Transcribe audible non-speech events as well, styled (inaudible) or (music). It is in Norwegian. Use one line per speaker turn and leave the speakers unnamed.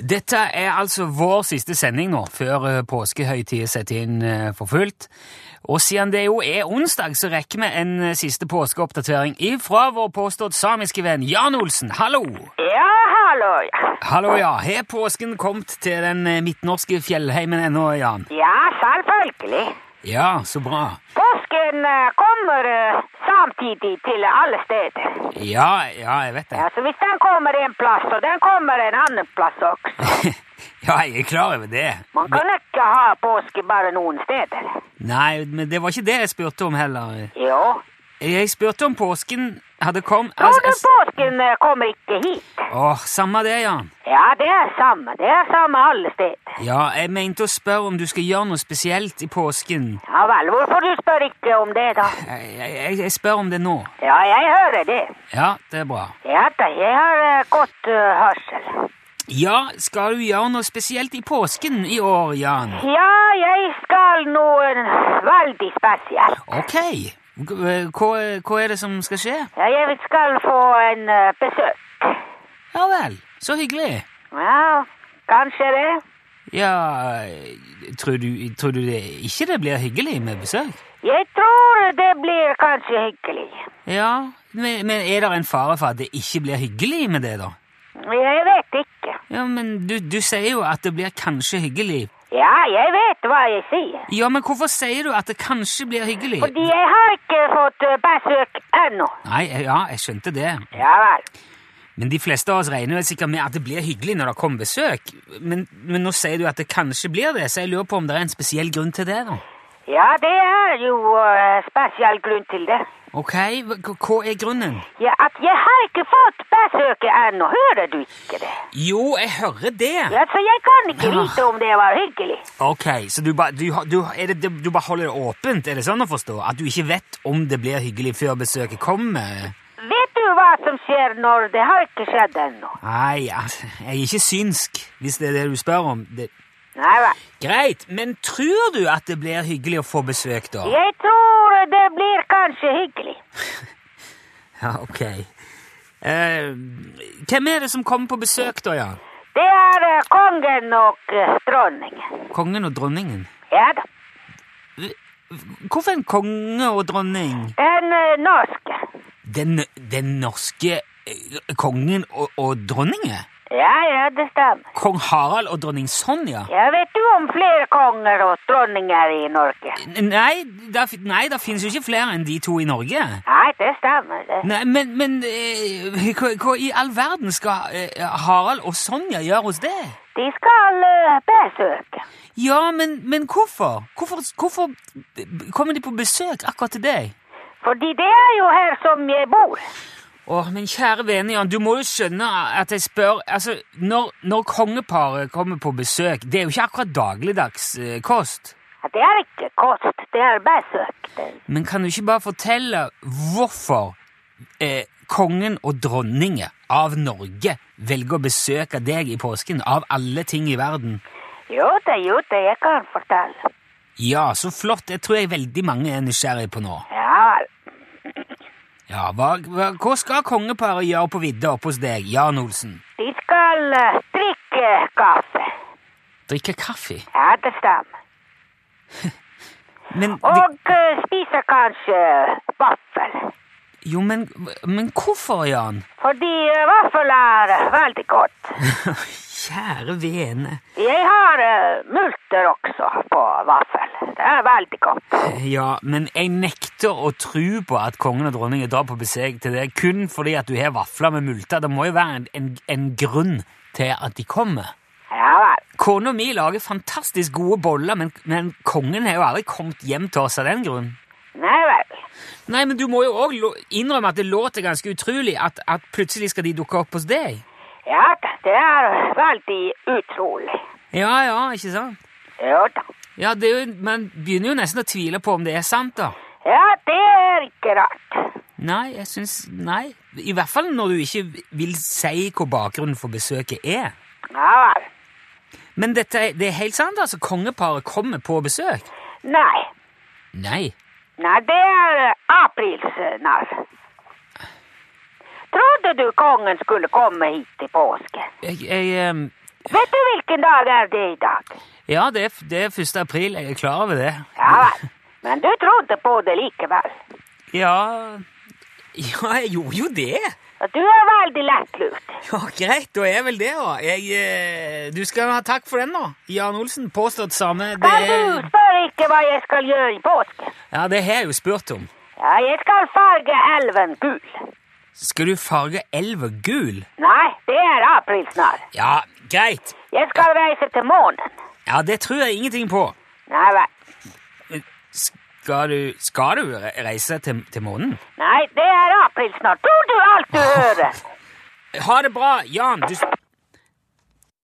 Dette er altså vår siste sending nå, før eh, påskehøytiden setter inn eh, for fullt. Og siden det jo er onsdag, så rekker vi en eh, siste påskeoppdatering ifra vår påstått samiske venn Jan Olsen. Hallo!
Ja, hallo, ja.
Hallo, ja. Har påsken kommet til den eh, midtnorske fjellheimen ennå, Jan?
Ja, selvfølgelig.
Ja, så bra.
Påsken eh, kommer eh, samtidig til alle steder.
Ja, ja, jeg vet det. (laughs)
Altså, hvis den kommer en plass, og den kommer en annen plass også.
Ja, jeg er klar over det.
Man kan ikke ha påske bare noen steder.
Nei, men det var ikke det jeg spurte om heller.
Jo.
Jeg spurte om påsken hadde kommet
Tror du påsken eh, kommer ikke hit?
Åh, samme det, Jan.
Ja, det er samme. Det er samme alle steder.
Ja, jeg mente å spørre om du skal gjøre noe spesielt i påsken.
Ja vel, hvorfor du spør ikke om det da?
Jeg, jeg, jeg spør om det nå.
Ja, jeg hører det.
Ja, det er bra.
Ja da, jeg har eh, godt eh, hørsel.
Ja, skal du gjøre noe spesielt i påsken i år, Jan?
Ja, jeg skal noe veldig spesielt.
Ok. eh, Hva, hva er det som skal skje?
Ja, jeg skal få en eh, besøk.
Ja vel, så hyggelig.
Ja, kanskje det.
Ja, tror du, tror du det ikke det blir hyggelig med besøk?
Jeg tror det blir kanskje hyggelig.
Ja, men, men er det en fare for at det ikke blir hyggelig med det, da?
Jeg vet ikke.
Ja, men du, du sier jo at det blir kanskje hyggelig.
Ja, jeg vet hva jeg sier.
Ja, men hvorfor sier du at det kanskje blir hyggelig?
Fordi jeg har ikke fått eh, besøk ennå.
Nei, eh, ja, jeg skjønte det.
Ja vel.
Men de fleste av oss regner vel sikkert med at det blir hyggelig når det kommer besøk. Men, men nå sier du at det kanskje blir det, så jeg lurer på om det er en spesiell grunn til det, da.
Ja, det er jo eh, spesiell grunn til det.
Ok, hva hva er grunnen?
Ja, at jeg har ikke fått besøk ennå. Hører du ikke det?
Jo, jeg hører det.
Ja, så jeg kan ikke
Ja.
vite om det var hyggelig.
Ok, så du bare du, har- du, er det, du bare holder det åpent, er det sånn å forstå? At du ikke vet om det blir hyggelig før besøket kommer?
Vet du hva som skjer når det har ikke skjedd ennå?
Nei, altså, jeg er ikke synsk, hvis det er det du spør om. Det...
Nei vel.
Greit, men tror du at det blir hyggelig å få besøk, da?
Jeg tror det blir kanskje hyggelig.
Ja, ok. Eh, hvem er det som kommer på besøk, da, ja?
Det er eh, kongen og eh, dronningen.
Kongen og dronningen.
Ja da.
Hvorfor en konge og dronning?
Den eh, norske.
Den, den norske eh, kongen og, og dronningen?
Ja, ja, det stemmer.
Kong Harald og dronning Sonja?
Ja, vet du om flere konger og dronninger i Norge?
N- Nei, der, fin- nei, det finnes jo ikke flere enn de to i Norge.
Nei, det stemmer. Det.
Nei, men, men eh, hva, hva i all verden skal eh, Harald og Sonja gjøre hos det?
De skal eh, besøke.
Ja, men, men hvorfor? hvorfor? Hvorfor kommer de på besøk akkurat til deg?
Fordi det er jo her som jeg bor.
Åh, men kjære vene Jan, du må jo skjønne at jeg spør Altså, når, når kongeparet kommer på besøk, det er jo ikke akkurat dagligdags eh, kost.
Det er ikke kost, det er besøk. Det-
Men kan du ikke bare fortelle hvorfor eh, kongen og dronningen av Norge velger å besøke deg i påsken, av alle ting i verden?
Jo da, jo da, jeg kan fortelle.
Ja, så flott. Det tror jeg veldig mange er nysgjerrig på nå.
Ja vel.
Ja, hva, hva, hva skal kongeparet gjøre på vidda oppe hos deg, Jan Olsen?
De skal eh, drikke kaffe.
Drikke kaffe?
Ja, det stemmer.
Men, de,
Og eh, spise kanskje vaffel.
jo, men, men hvorfor, Jan?
Fordi eh, vaffel er eh, veldig godt.
Kjære vene.
Jeg har eh, multer også på vaffel. Det er veldig godt.
Ja, men jeg nekter å tro på at kongen og dronningen drar på besøk til deg kun fordi at du har vafler med multer. Det må jo være en, en, en grunn til at de kommer.
Ja vel.
Kona mi lager fantastisk gode boller, men, men kongen har jo aldri kommet hjem til oss av den grunn.
Nei vel.
Nei, men du må jo òg innrømme at det låter ganske utrolig at, at plutselig skal de dukke opp hos deg.
Ja da, det er veldig utrolig.
Ja, ja, ikke sant?
Jo da.
Ja, det er jo, Man begynner jo nesten å tvile på om det er sant, da.
Ja, det er ikke rart.
Nei, jeg syns Nei. I hvert fall når du ikke vil si hvor bakgrunnen for besøket er.
Ja vel.
Men dette, er- det er helt sant, altså. Kongeparet kommer på besøk.
Nei.
Nei.
Nei, det er eh, aprilsnarr. Trodde du kongen skulle komme hit i påsken?
Jeg, jeg, ehm,
Vet du hvilken dag er det i dag?
Ja, det er, f- det er 1. april. Jeg er klar over det.
Ja vel. Men du trodde på det likevel.
Ja Ja, jeg gjorde jo det.
Du er veldig lettlurt.
Ja, Greit, da er vel det, da. Jeg, eh, du skal ha takk for den, da. Jan Olsen, påstått same. Det
Men du
er,
spør ikke hva jeg skal gjøre i påsken.
ja, det har jeg jo spurt om.
Ja, jeg skal farge elven gul.
Skal du farge elva gul?
Nei, det er april snart.
Ja, greit.
Jeg skal reise til månen.
Ja, det tror jeg ingenting på.
Nei vel.
Skal du, skal du re- reise til, til månen?
Nei, det er april snart. Tror du alt du hører?
Ha det bra, Jan. Du, s-